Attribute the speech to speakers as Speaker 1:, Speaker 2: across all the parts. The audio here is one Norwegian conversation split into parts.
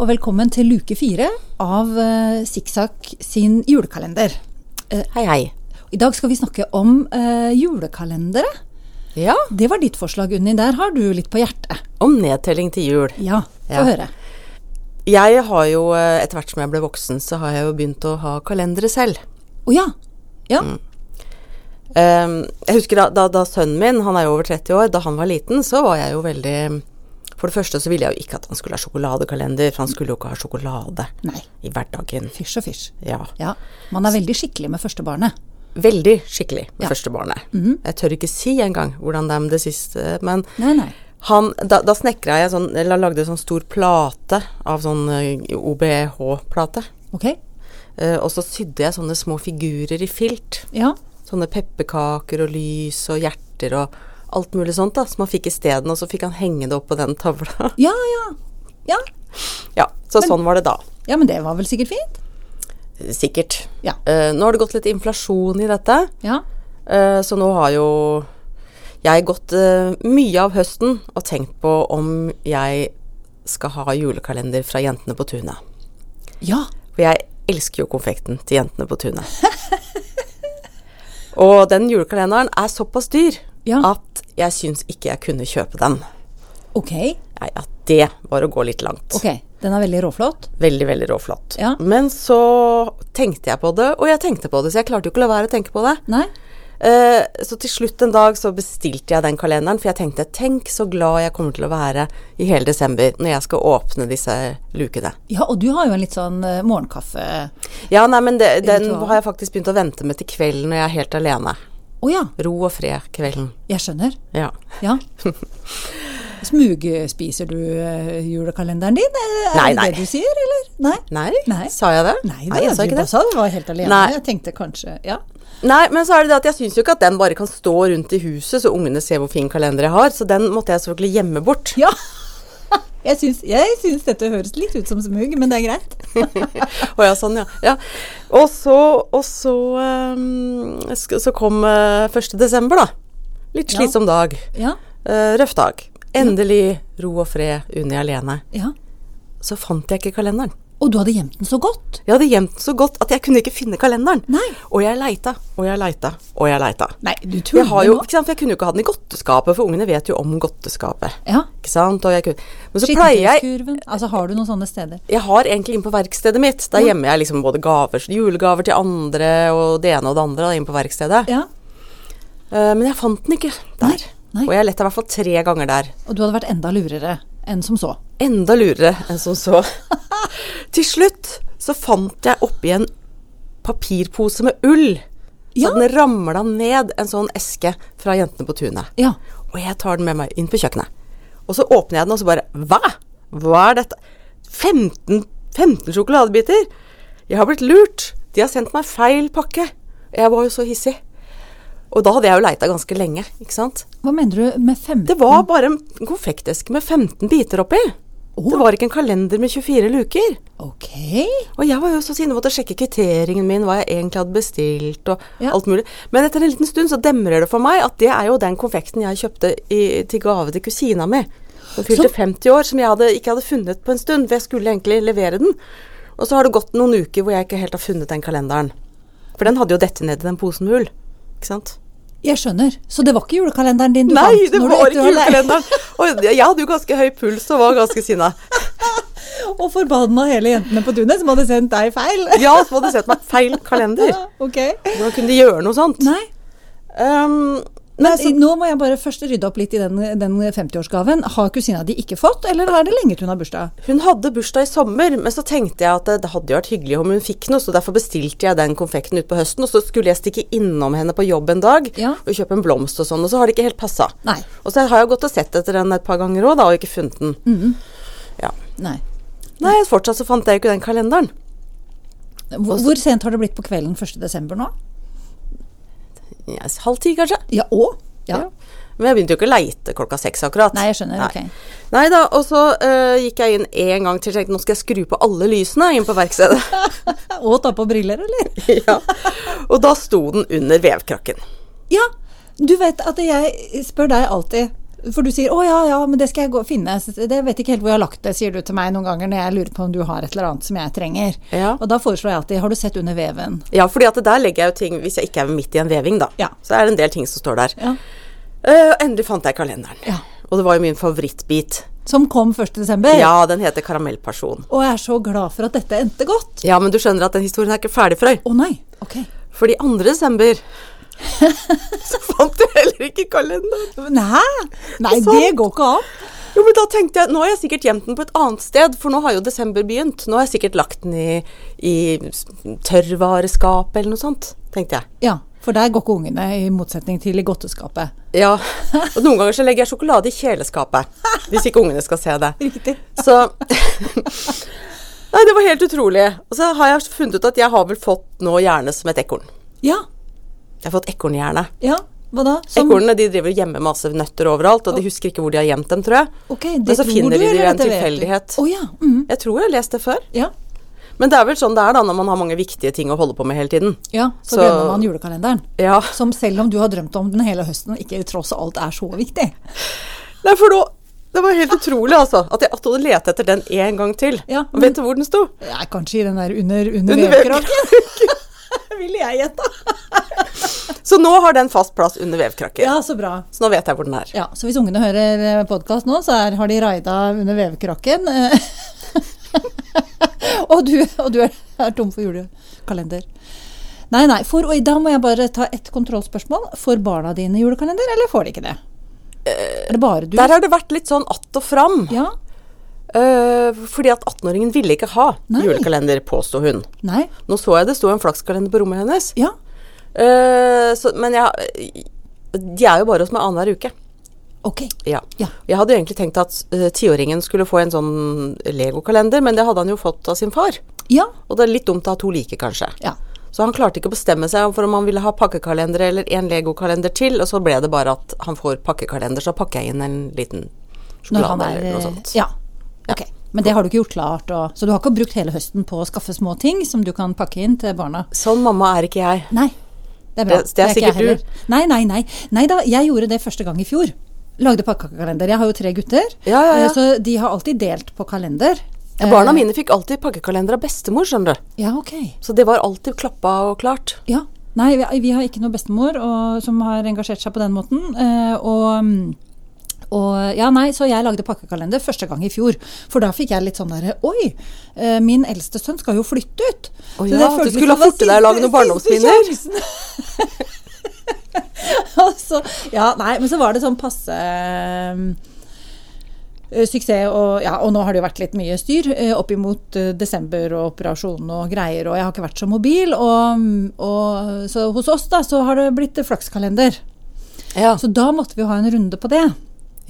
Speaker 1: og velkommen til luke fire av eh, Sikksakk sin julekalender.
Speaker 2: Hei, hei.
Speaker 1: I dag skal vi snakke om eh, julekalendere.
Speaker 2: Ja,
Speaker 1: Det var ditt forslag, Unni. Der har du litt på hjertet.
Speaker 2: om nedtelling til jul.
Speaker 1: Ja, få
Speaker 2: Ja.
Speaker 1: høre.
Speaker 2: Jeg har jo, eh, etter hvert som jeg ble voksen, så har jeg jo begynt å ha kalendere selv.
Speaker 1: Å ja. Ja.
Speaker 2: Ehm, jeg husker da, da, da sønnen min, han er jo over 30 år, da han var liten, så var jeg jo veldig For det første så ville jeg jo ikke at han skulle ha sjokoladekalender, for han skulle jo ikke ha sjokolade
Speaker 1: Nei.
Speaker 2: i hverdagen.
Speaker 1: Fysj og fysj.
Speaker 2: Ja.
Speaker 1: Ja. Man er veldig skikkelig med første barnet.
Speaker 2: Veldig skikkelig med
Speaker 1: Ja.
Speaker 2: første barnet. Jeg tør ikke si engang hvordan det er med det siste, men
Speaker 1: Nei, nei.
Speaker 2: Han, da, da snekra jeg sånn, eller lagde sånn stor plate av sånn eh, OBH-plate.
Speaker 1: Ok?
Speaker 2: Eh, og så sydde jeg sånne små figurer i filt.
Speaker 1: Ja.
Speaker 2: Sånne pepperkaker og lys og hjerter og alt mulig sånt da, som han fikk isteden. Og så fikk han henge det opp på den tavla.
Speaker 1: Ja, ja. Ja,
Speaker 2: ja, Så sånn var det da.
Speaker 1: ja men det var vel sikkert fint?
Speaker 2: Sikkert.
Speaker 1: Ja.
Speaker 2: Eh, nå har det gått litt inflasjon i dette,
Speaker 1: Ja.
Speaker 2: eh, så nå har jo jeg gått eh, mye av høsten og tenkt på om jeg skal ha julekalender fra Jentene på tunet.
Speaker 1: Ja.
Speaker 2: For jeg elsker jo konfekten til Jentene på tunet. Og den julekalenderen er såpass dyr
Speaker 1: Ja.
Speaker 2: at jeg syns ikke jeg kunne kjøpe den.
Speaker 1: Ok.
Speaker 2: Nei, at det var å gå litt langt.
Speaker 1: Ok. Den er veldig råflott.
Speaker 2: Veldig, veldig råflott.
Speaker 1: Ja.
Speaker 2: Men så tenkte jeg på det, og jeg tenkte på det, så jeg klarte jo ikke å la være å tenke på det.
Speaker 1: Nei?
Speaker 2: Eh, Så til slutt en dag så bestilte jeg den kalenderen, for jeg tenkte tenk så glad jeg kommer til å være i hele desember når jeg skal åpne disse lukene.
Speaker 1: Ja, og du har jo en litt sånn eh, morgenkaffe...
Speaker 2: Ja, nei, men det, den
Speaker 1: Ritual.
Speaker 2: har jeg faktisk begynt å vente med til kvelden når jeg er helt alene.
Speaker 1: Å ja,
Speaker 2: Ro og fred kvelden.
Speaker 1: jeg skjønner.
Speaker 2: Ja.
Speaker 1: Ja. Smugspiser du eh, julekalenderen din? Er
Speaker 2: Nei,
Speaker 1: det
Speaker 2: nei.
Speaker 1: det du sier, eller? Nei?
Speaker 2: Nei,
Speaker 1: Nei.
Speaker 2: sa jeg det?
Speaker 1: Nei, det,
Speaker 2: jeg sa
Speaker 1: du
Speaker 2: ikke
Speaker 1: bare
Speaker 2: det.
Speaker 1: sa du var helt alene.
Speaker 2: Nei.
Speaker 1: Jeg tenkte kanskje Ja.
Speaker 2: Nei, men så er det det at jeg syns jo ikke at den bare kan stå rundt i huset så ungene ser hvor fin kalender jeg har, så den måtte jeg selvfølgelig gjemme bort.
Speaker 1: ja. Jeg syns, jeg syns dette høres litt ut som smug, men det er greit.
Speaker 2: Å ja, sånn, ja. ja. Og så, og så, ehm, sk- så kom eh, 1. desember, da. Litt
Speaker 1: Ja.
Speaker 2: slitsom dag.
Speaker 1: Ja.
Speaker 2: Eh, røff dag. Endelig ro og fred, Unni alene.
Speaker 1: ja.
Speaker 2: Så fant jeg ikke kalenderen.
Speaker 1: Og du hadde gjemt den så godt.
Speaker 2: Jeg hadde gjemt den så godt at jeg kunne ikke finne kalenderen.
Speaker 1: Nei.
Speaker 2: Og jeg leita, og jeg leita, og jeg leita.
Speaker 1: Nei, du tuller
Speaker 2: Jeg, har jo,
Speaker 1: nå.
Speaker 2: ikke sant, for jeg kunne jo ikke ha den i godteskapet, for ungene vet jo om godteskapet.
Speaker 1: Ja.
Speaker 2: Ikke sant? Og jeg kunne, men så pleier jeg
Speaker 1: Skittentøyskurven. Altså, har du noen sånne steder?
Speaker 2: Jeg har egentlig inn på verkstedet mitt.
Speaker 1: Mm.
Speaker 2: Der gjemmer jeg liksom både gaver, julegaver til andre og det ene og det andre da, inn på verkstedet.
Speaker 1: Ja.
Speaker 2: Eh, men jeg fant den ikke
Speaker 1: Nei,
Speaker 2: der.
Speaker 1: nei.
Speaker 2: Og jeg lette i hvert fall tre ganger der.
Speaker 1: Og du hadde vært enda lurere enn som så.
Speaker 2: Enda lurere enn som så. til slutt så fant jeg oppi en papirpose med ull. Så
Speaker 1: Ja.
Speaker 2: den ramla ned en sånn eske fra Jentene på tunet.
Speaker 1: Ja.
Speaker 2: Og jeg tar den med meg inn på kjøkkenet. Og så åpner jeg den, og så bare Hva? Hva er dette? 15, 15 sjokoladebiter? Jeg har blitt lurt. De har sendt meg feil pakke. Jeg var jo så hissig. Og da hadde jeg jo leita ganske lenge, ikke sant.
Speaker 1: Hva mener du med fem?
Speaker 2: Det var bare en konfekteske med 15 biter oppi. Det var ikke en kalender med 24 luker.
Speaker 1: Ok.
Speaker 2: Og jeg var jo så sinne måtte sjekke kvitteringen min, hva jeg egentlig hadde bestilt og
Speaker 1: Ja.
Speaker 2: alt mulig. Men etter en liten stund så demrer det for meg at det er jo den konfekten jeg kjøpte i, til gave til kusina mi. Hun fylte
Speaker 1: Så-
Speaker 2: 50 år, som jeg hadde, ikke hadde funnet på en stund, for jeg skulle egentlig levere den. Og så har det gått noen uker hvor jeg ikke helt har funnet den kalenderen. For den hadde jo dette ned i den posen med ull. Ikke sant?
Speaker 1: Jeg skjønner. Så det var ikke julekalenderen din du
Speaker 2: Nei,
Speaker 1: fant?
Speaker 2: det
Speaker 1: når du
Speaker 2: var
Speaker 1: etter-
Speaker 2: ikke julekalenderen! Og jeg hadde jo ganske høy puls og var ganske sinna.
Speaker 1: Og forbanna hele jentene på tunet som hadde sendt deg feil.
Speaker 2: Ja, så hadde de sett meg feil kalender.
Speaker 1: ok.
Speaker 2: Hvordan kunne de gjøre noe sånt?
Speaker 1: Nei,
Speaker 2: Um,
Speaker 1: men
Speaker 2: nei, så,
Speaker 1: nå må jeg bare først rydde opp litt i den, den 50-årsgaven. Har kusina di ikke fått, eller er det lenge til hun har bursdag?
Speaker 2: hun hadde bursdag i sommer, men så tenkte jeg at det, det hadde jo vært hyggelig om hun fikk noe, så derfor bestilte jeg den konfekten utpå høsten. Og så skulle jeg stikke innom henne på jobb en dag
Speaker 1: Ja.
Speaker 2: og kjøpe en blomst og sånn, og så har det ikke helt passa.
Speaker 1: Nei.
Speaker 2: Og så har jeg gått og sett etter den et par ganger òg, da, og ikke funnet den.
Speaker 1: Mm.
Speaker 2: Ja.
Speaker 1: Nei.
Speaker 2: Nei, fortsatt så fant jeg jo ikke den kalenderen.
Speaker 1: Hvor,
Speaker 2: Altså-
Speaker 1: hvor sent har det blitt på kvelden 1. desember nå?
Speaker 2: Yes, halv ti, kanskje.
Speaker 1: Ja, og? Ja.
Speaker 2: Men jeg begynte jo ikke å leite klokka seks akkurat.
Speaker 1: Nei, jeg skjønner, ok.
Speaker 2: Nei da, og så eh, gikk jeg inn en gang til og tenkte nå skal jeg skru på alle lysene inn på verkstedet.
Speaker 1: Og ta på briller, eller?
Speaker 2: ja. Og da sto den under vevkrakken.
Speaker 1: Ja, du vet at jeg spør deg alltid For du sier 'å ja, ja, men det skal jeg gå og finne'. Så Det vet ikke helt hvor jeg har lagt det, sier du til meg noen ganger når jeg lurer på om du har et eller annet som jeg trenger.
Speaker 2: Ja.
Speaker 1: Og da foreslår jeg alltid 'har du sett under veven'?
Speaker 2: Ja, fordi at der legger jeg jo ting Hvis jeg ikke er midt i en veving, da,
Speaker 1: Ja.
Speaker 2: så er det en del ting som står der.
Speaker 1: Ja.
Speaker 2: Eh, endelig fant jeg kalenderen.
Speaker 1: Ja.
Speaker 2: Og det var jo min favorittbit.
Speaker 1: Som kom 1.12.
Speaker 2: Ja, den heter Karamellperson.
Speaker 1: Og jeg er så glad for at dette endte godt.
Speaker 2: Ja, men du skjønner at den historien er ikke ferdig, Frøy.
Speaker 1: Å nei. Ok.
Speaker 2: Fordi 2. desember så fant jeg heller ikke kalenderen.
Speaker 1: Nei, nei
Speaker 2: Det er sant.
Speaker 1: det går ikke an.
Speaker 2: Jo, men da tenkte jeg, Nå har jeg sikkert gjemt den på et annet sted, for nå har jo desember begynt. Nå har jeg sikkert lagt den i, i s- tørrvareskapet eller noe sånt, tenkte jeg.
Speaker 1: Ja, for der går ikke ungene, i motsetning til i godteskapet.
Speaker 2: Ja, og Noen ganger så legger jeg sjokolade i kjeleskapet, hvis ikke ungene skal se det.
Speaker 1: Riktig.
Speaker 2: Så Nei, det var helt utrolig. Og så har jeg funnet ut at jeg har vel fått nå hjerne som et ekorn.
Speaker 1: Ja.
Speaker 2: Jeg har fått ekornhjerne.
Speaker 1: Ja, hva da? Som-
Speaker 2: Ekornene de driver og gjemmer masse nøtter overalt, og de husker ikke hvor de har gjemt dem, tror jeg.
Speaker 1: Ok,
Speaker 2: Men så
Speaker 1: tror du,
Speaker 2: finner de det
Speaker 1: eller
Speaker 2: ved
Speaker 1: dette vet
Speaker 2: en
Speaker 1: du?
Speaker 2: tilfeldighet.
Speaker 1: Å ja. mhm,
Speaker 2: Jeg tror jeg har lest det før.
Speaker 1: ja.
Speaker 2: Men det er vel sånn det er da når man har mange viktige ting å holde på med hele tiden.
Speaker 1: Ja, så,
Speaker 2: Så-
Speaker 1: glemmer man julekalenderen.
Speaker 2: Ja.
Speaker 1: Som selv om du har drømt om den hele høsten, ikke tross alt er så viktig.
Speaker 2: Nei, for nå Det var helt utrolig, altså. At jeg hadde lete etter den en gang til.
Speaker 1: Ja,
Speaker 2: Og vet du hvor den sto?
Speaker 1: Ja, kanskje i den der under, under,
Speaker 2: Under
Speaker 1: vevkraken. Ville jeg gjette.
Speaker 2: Så nå har den fast plass under vevkrakken.
Speaker 1: Ja, så bra.
Speaker 2: Så nå vet jeg hvor den er.
Speaker 1: Ja, så hvis ungene hører podkast nå, så er, har de raida under vevkraken. eh. og, du, og du er, er tom for julekalender. Nei, nei. For, og da må jeg bare ta ett kontrollspørsmål. Får barna dine julekalender, eller får de ikke det? Eh, er det bare du?
Speaker 2: Der har det vært litt sånn att og fram.
Speaker 1: Ja?
Speaker 2: Eh, fordi at 18-åringen ville ikke ha
Speaker 1: Nei.
Speaker 2: julekalender, påsto hun.
Speaker 1: Nei?
Speaker 2: Nå så jeg det sto en flakskalender på rommet hennes.
Speaker 1: Ja?
Speaker 2: Eh, så, men jeg De er jo bare hos meg annenhver uke.
Speaker 1: Ok.
Speaker 2: Ja.
Speaker 1: Ja.
Speaker 2: Jeg hadde jo egentlig tenkt at eh, tiåringen skulle få en sånn legokalender, men det hadde han jo fått av sin far.
Speaker 1: Ja.
Speaker 2: Og det er litt dumt å ha to like, kanskje.
Speaker 1: Ja.
Speaker 2: Så han klarte ikke å bestemme seg for om han ville ha pakkekalender eller en legokalender til, og så ble det bare at han får pakkekalender, så pakker jeg inn en liten
Speaker 1: Når han
Speaker 2: sjokolade
Speaker 1: er eh,
Speaker 2: eller noe sånt.
Speaker 1: Ja. Ok. Men det har du ikke gjort klart? Og, så du har ikke brukt hele høsten på å skaffe små ting som du kan pakke inn til barna?
Speaker 2: Sånn mamma er ikke jeg.
Speaker 1: Nei. Det er bra.
Speaker 2: Det- det er
Speaker 1: ikke jeg
Speaker 2: sikkert du.
Speaker 1: heller. Nei, nei, nei. Nei da, jeg gjorde det første gang i fjor. Lagde pakkekalender. Jeg har jo tre gutter,
Speaker 2: Ja, ja, ja.
Speaker 1: eh, så de har alltid delt på kalender. Eh,
Speaker 2: Barna mine fikk alltid pakkekalender av bestemor, skjønner du.
Speaker 1: Ja, ok.
Speaker 2: Så det var alltid klappa og klart.
Speaker 1: Ja. Nei, vi, vi har ikke noe bestemor og, som har engasjert seg på den måten. eh, og, mm, og ja, nei, Så jeg lagde pakkekalender første gang i fjor. For da fikk jeg litt sånn derre Oi, eh, min eldste sønn skal jo flytte ut.
Speaker 2: Å
Speaker 1: Så
Speaker 2: ja,
Speaker 1: det
Speaker 2: at du
Speaker 1: føltes som
Speaker 2: skulle ha
Speaker 1: det
Speaker 2: fortet deg å lage noen
Speaker 1: siste- siste
Speaker 2: barndomsminner.
Speaker 1: sjansen. Og så, ja, nei, men så var det sånn passe mm, eh, suksess, og, ja, og nå har det jo vært litt mye styr eh, opp imot eh, desember og operasjon og greier, og jeg har ikke vært så mobil. Og, og, så hos oss da, så har det blitt eh, flakskalender.
Speaker 2: Ja.
Speaker 1: Så da måtte vi jo ha en runde på det.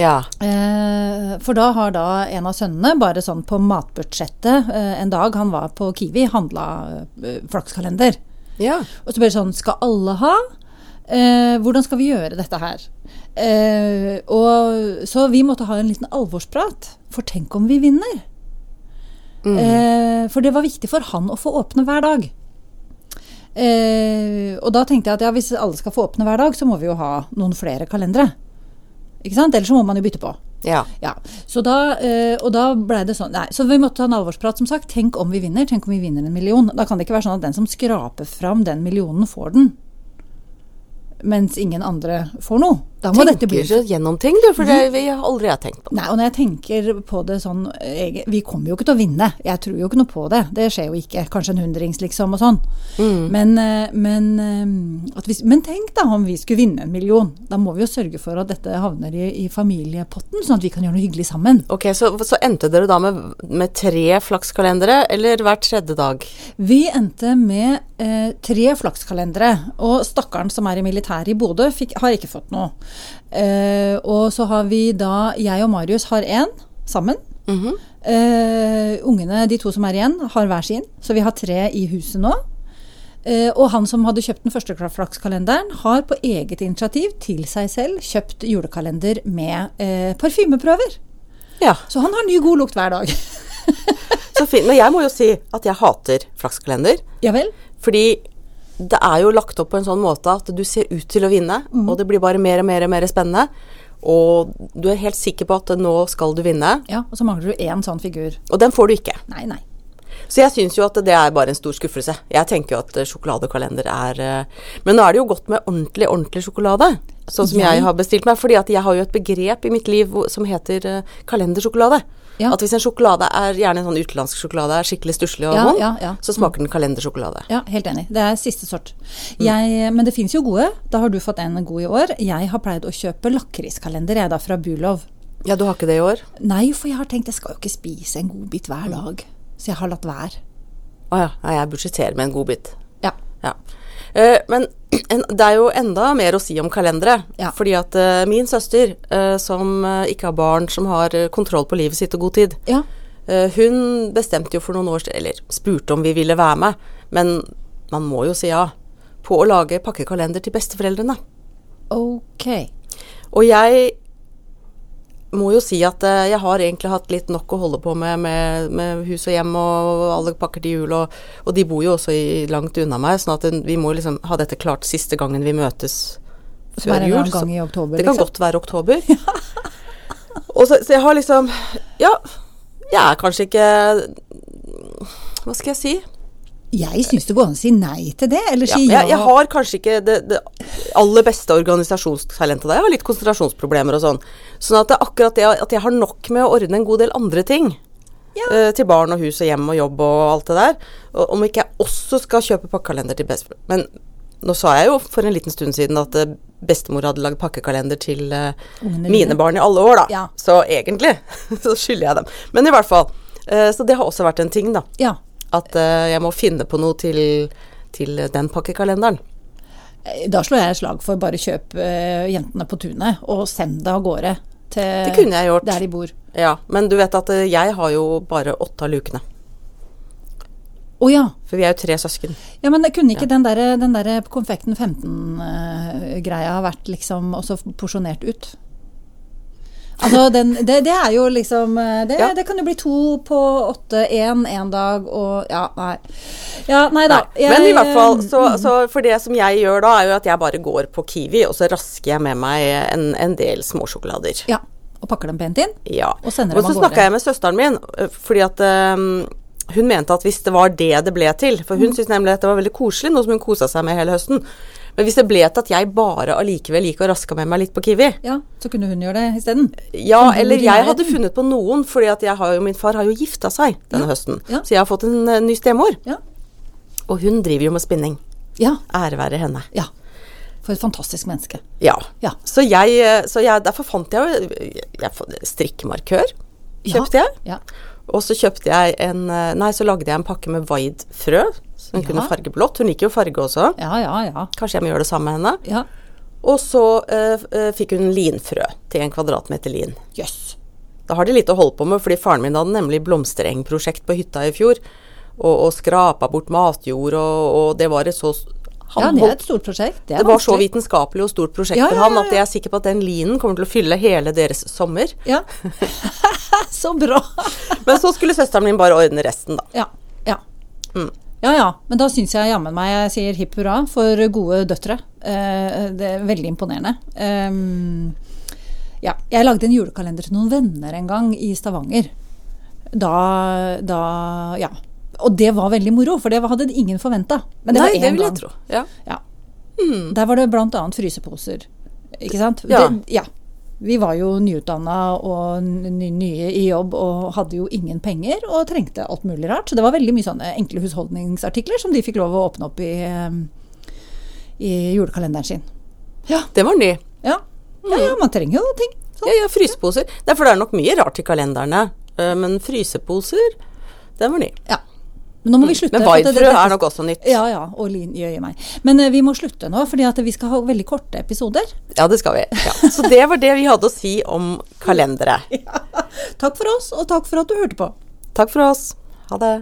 Speaker 2: ja.
Speaker 1: Eh, for da har da en av sønnene, bare sånn på matbudsjettet, eh, en dag han var på Kiwi, handla eh, flakskalender.
Speaker 2: Ja.
Speaker 1: Og så ble det sånn Skal alle ha? Eh, hvordan skal vi gjøre dette her? Eh, og, så vi måtte ha en liten alvorsprat. For tenk om vi vinner? Eh, for det var viktig for han å få åpne hver dag. Eh, og da tenkte jeg at ja, hvis alle skal få åpne hver dag, så må vi jo ha noen flere kalendere. Ikke sant? Ellers så må man jo bytte på.
Speaker 2: ja.
Speaker 1: Ja, så da, eh, Og da blei det sånn Nei, så vi måtte ta en alvorsprat, som sagt. Tenk om vi vinner. Tenk om vi vinner en million. Da kan det ikke være sånn at den som skraper fram den millionen, får den. Mens ingen andre får noe. Da må dette bli
Speaker 2: Tenker så gjennom ting, du, for det vi har aldri jeg tenkt på.
Speaker 1: Nei, og når jeg tenker på det sånn eh, Vi kommer jo ikke til å vinne. Jeg tror jo ikke noe på det. Det skjer jo ikke. Kanskje en hundrings, liksom, og sånn. Men, eh, men, eh, at hvis, men tenk da om vi skulle vinne en million. Da må vi jo sørge for at dette havner i, i familiepotten, sånn at vi kan gjøre noe hyggelig sammen.
Speaker 2: Ok, Så, så endte dere da med, med tre flakskalendere, eller hver tredje dag?
Speaker 1: Vi endte med eh, tre flakskalendere, og stakkaren som er i militæret i Bodø, fikk, har ikke fått noe. Eh, og så har vi da Jeg og Marius har én sammen. eh, ungene, de to som er igjen, har hver sin, så vi har tre i huset nå. Eh, og han som hadde kjøpt den første flakskalenderen, har på eget initiativ til seg selv kjøpt julekalender med eh, parfymeprøver.
Speaker 2: Ja.
Speaker 1: Så han har ny god lukt hver dag.
Speaker 2: Så fint. Men jeg må jo si at jeg hater flakskalender.
Speaker 1: ja vel?
Speaker 2: Fordi det er jo lagt opp på en sånn måte at du ser ut til å vinne, og det blir bare mer og mer og mer spennende. og du er helt sikker på at nå skal du vinne,
Speaker 1: Ja, og så mangler du én sånn figur.
Speaker 2: og den får du ikke.
Speaker 1: Nei, nei.
Speaker 2: Så jeg syns jo at det er bare en stor skuffelse. Jeg tenker jo at eh, sjokoladekalender er eh, Men nå er det jo godt med ordentlig, ordentlig sjokolade. Sånn som jeg har bestilt meg. Fordi at jeg har jo et begrep i mitt liv hvor- som heter eh, kalendersjokolade.
Speaker 1: Ja.
Speaker 2: At hvis en sjokolade er gjerne en sånn utenlandsk sjokolade er skikkelig stusslig og
Speaker 1: Ja,
Speaker 2: vond,
Speaker 1: ja, ja.
Speaker 2: så smaker den kalendersjokolade.
Speaker 1: Ja, helt enig. Det er siste sort. Jeg, men det fins jo gode. Da har du fått en god i år. Jeg har pleid å kjøpe lakriskalender, jeg da, fra Bulov.
Speaker 2: Ja, du har ikke det i år?
Speaker 1: Nei, for jeg har tenkt jeg skal jo ikke spise en godbit
Speaker 2: Mm.
Speaker 1: hver dag. Så jeg har latt være.
Speaker 2: Å ja. Nei, jeg budsjetterer med en godbit.
Speaker 1: Ja.
Speaker 2: Ja. Eh, men en, det er jo enda mer å si om kalendere.
Speaker 1: Ja.
Speaker 2: Fordi at eh, min søster, eh, som eh, ikke har barn, som har eh, kontroll på livet sitt og god tid,
Speaker 1: Ja.
Speaker 2: eh, hun bestemte jo for noen år siden, eller spurte om vi ville være med, men man må jo si ja, på å lage pakkekalender til besteforeldrene.
Speaker 1: Ok.
Speaker 2: Og jeg må jo si at eh, jeg har egentlig hatt litt nok å holde på med, med, med hus og hjem og alle pakker til jul, og, og de bor jo også i, langt unna meg, sånn at en- vi må liksom ha dette klart siste gangen vi møtes
Speaker 1: Som er en eller annen gang i oktober,
Speaker 2: Det kan
Speaker 1: liksom.
Speaker 2: godt være oktober. og så, så jeg har liksom Ja, jeg er kanskje ikke Hva skal jeg si?
Speaker 1: Jeg syns det går an å si nei til det, eller
Speaker 2: Ja,
Speaker 1: si ja.
Speaker 2: jeg, jeg har kanskje ikke det, det aller beste organisasjonstalentet der. Jeg har litt konsentrasjonsproblemer og sånn. Sånn at det er akkurat det at jeg har nok med å ordne en god del andre ting. eh, Til barn og hus og hjem og jobb og alt det der. Og om ikke jeg også skal kjøpe pakkekalender til bestemor Men nå sa jeg jo for en liten stund siden at eh, bestemor hadde lagd pakkekalender til eh,
Speaker 1: Ungene dine.
Speaker 2: mine barn i alle år, da.
Speaker 1: Ja.
Speaker 2: Så egentlig så skylder jeg dem. Men i hvert fall. eh, Så det har også vært en ting, da.
Speaker 1: ja.
Speaker 2: At eh, jeg må finne på noe til, til den pakkekalenderen.
Speaker 1: Da slår jeg et slag for bare kjøp eh, Jentene på tunet, og send det av gårde til
Speaker 2: Det kunne jeg gjort.
Speaker 1: der de bor.
Speaker 2: Ja, Men du vet at eh, jeg har jo bare åtte av lukene.
Speaker 1: Å ja.
Speaker 2: For vi er jo tre søsken.
Speaker 1: ja. Men kunne ikke den derre den der Konfekten 15-greia vært liksom også porsjonert ut? Altså, den, det, det er jo liksom eh, det,
Speaker 2: Ja.
Speaker 1: det kan jo bli to på åtte, én en dag og Ja, nei. Ja, nei da.
Speaker 2: Nei. Men i
Speaker 1: Jeg,
Speaker 2: hvert fall,
Speaker 1: eh,
Speaker 2: så, så for det som jeg gjør da, er jo at jeg bare går på Kiwi, og så rasker jeg med meg en, en del småsjokolader.
Speaker 1: Ja. Og pakker dem pent inn?
Speaker 2: Ja.
Speaker 1: Og sender
Speaker 2: Men
Speaker 1: dem av
Speaker 2: så
Speaker 1: gårde.
Speaker 2: snakka jeg med søsteren min, ø, fordi at øhm, hun mente at hvis det var det det ble til For
Speaker 1: Mm.
Speaker 2: hun syntes nemlig at det var veldig koselig, noe som hun kosa seg med hele høsten. Men hvis det ble til at jeg bare allikevel gikk og raska med meg litt på Kiwi,
Speaker 1: Ja, så kunne hun gjøre det isteden.
Speaker 2: Ja,
Speaker 1: Som bor
Speaker 2: eller
Speaker 1: i
Speaker 2: jeg hadde
Speaker 1: nærheten.
Speaker 2: funnet på noen, fordi at jeg har jo, min far har jo gifta seg denne høsten.
Speaker 1: ja.
Speaker 2: Så jeg har fått en eh, ny stemor,
Speaker 1: Ja.
Speaker 2: og hun driver jo med spinning.
Speaker 1: ja.
Speaker 2: Ære være henne.
Speaker 1: Ja. For et fantastisk menneske.
Speaker 2: Ja.
Speaker 1: Ja.
Speaker 2: Så, jeg, eh, så jeg, derfor fant jeg jo eh, jeg, fant- strikkemarkør.
Speaker 1: Ja.
Speaker 2: Kjøpte jeg.
Speaker 1: Ja.
Speaker 2: Og så kjøpte jeg en eh, Nei, så lagde jeg en pakke med Vaid-frø, så hun
Speaker 1: Ja.
Speaker 2: kunne farge blått. Hun liker jo farge også.
Speaker 1: Ja, ja, ja.
Speaker 2: Kanskje jeg må gjøre det samme med henne.
Speaker 1: Ja.
Speaker 2: Og så eh, f- eh, fikk hun linfrø til en kvadratmeter lin.
Speaker 1: Jøss.
Speaker 2: Da har de litt å holde på med, fordi faren min hadde nemlig blomsterengprosjekt på hytta i fjor. Og, og skrapa bort matjord, og, og det var et så han
Speaker 1: Ja, det er
Speaker 2: holdt-
Speaker 1: et stort prosjekt. Det, er
Speaker 2: det var så
Speaker 1: vanskelig.
Speaker 2: vitenskapelig og stort prosjekt
Speaker 1: Ja,
Speaker 2: for
Speaker 1: ja,
Speaker 2: han
Speaker 1: ja,
Speaker 2: at jeg er sikker på at den linen kommer til å fylle hele deres sommer.
Speaker 1: Ja. så bra.
Speaker 2: Men så skulle søsteren min bare ordne resten, da.
Speaker 1: Ja. Ja.
Speaker 2: Mm.
Speaker 1: Ja ja, men da syns jeg jammen meg jeg sier hipp hurra for gode døtre. Eh, det er veldig imponerende. Ehm, ja. Jeg lagde en julekalender til noen venner en gang i Stavanger. Da, da Ja. Og det var veldig moro, for det hadde ingen forventa. Men det
Speaker 2: Nei,
Speaker 1: var én
Speaker 2: det vil
Speaker 1: gang.
Speaker 2: jeg tro. Ja.
Speaker 1: Ja. Der var det bl.a. fryseposer. Ikke sant?
Speaker 2: Hmm. Ja.
Speaker 1: Det, ja. Vi var jo nyutdanna og ny- nye i jobb og hadde jo ingen penger og trengte alt mulig rart. Så det var veldig mye sånne enkle husholdningsartikler som de fikk lov å åpne opp i, eh, i julekalenderen sin. Ja.
Speaker 2: Det var ny.
Speaker 1: Ja, ja, ja man trenger jo ting. Sånn.
Speaker 2: Ja, ja, fryseposer. Det er for det er nok mye rart i kalenderne, eh, men fryseposer, den var ny.
Speaker 1: Ja. Men nå må vi slutte.
Speaker 2: Mm. Men
Speaker 1: for at det-
Speaker 2: vaidfrø
Speaker 1: dette-
Speaker 2: er nok også nytt.
Speaker 1: Ja, ja. Og lin jøye meg. Men eh, vi må slutte nå, fordi at vi skal ha veldig korte episoder.
Speaker 2: Ja, det skal vi. Ja. Så det var det vi hadde å si om kalendere.
Speaker 1: Takk for oss, og takk for at du hørte på.
Speaker 2: Takk for oss. Ha det.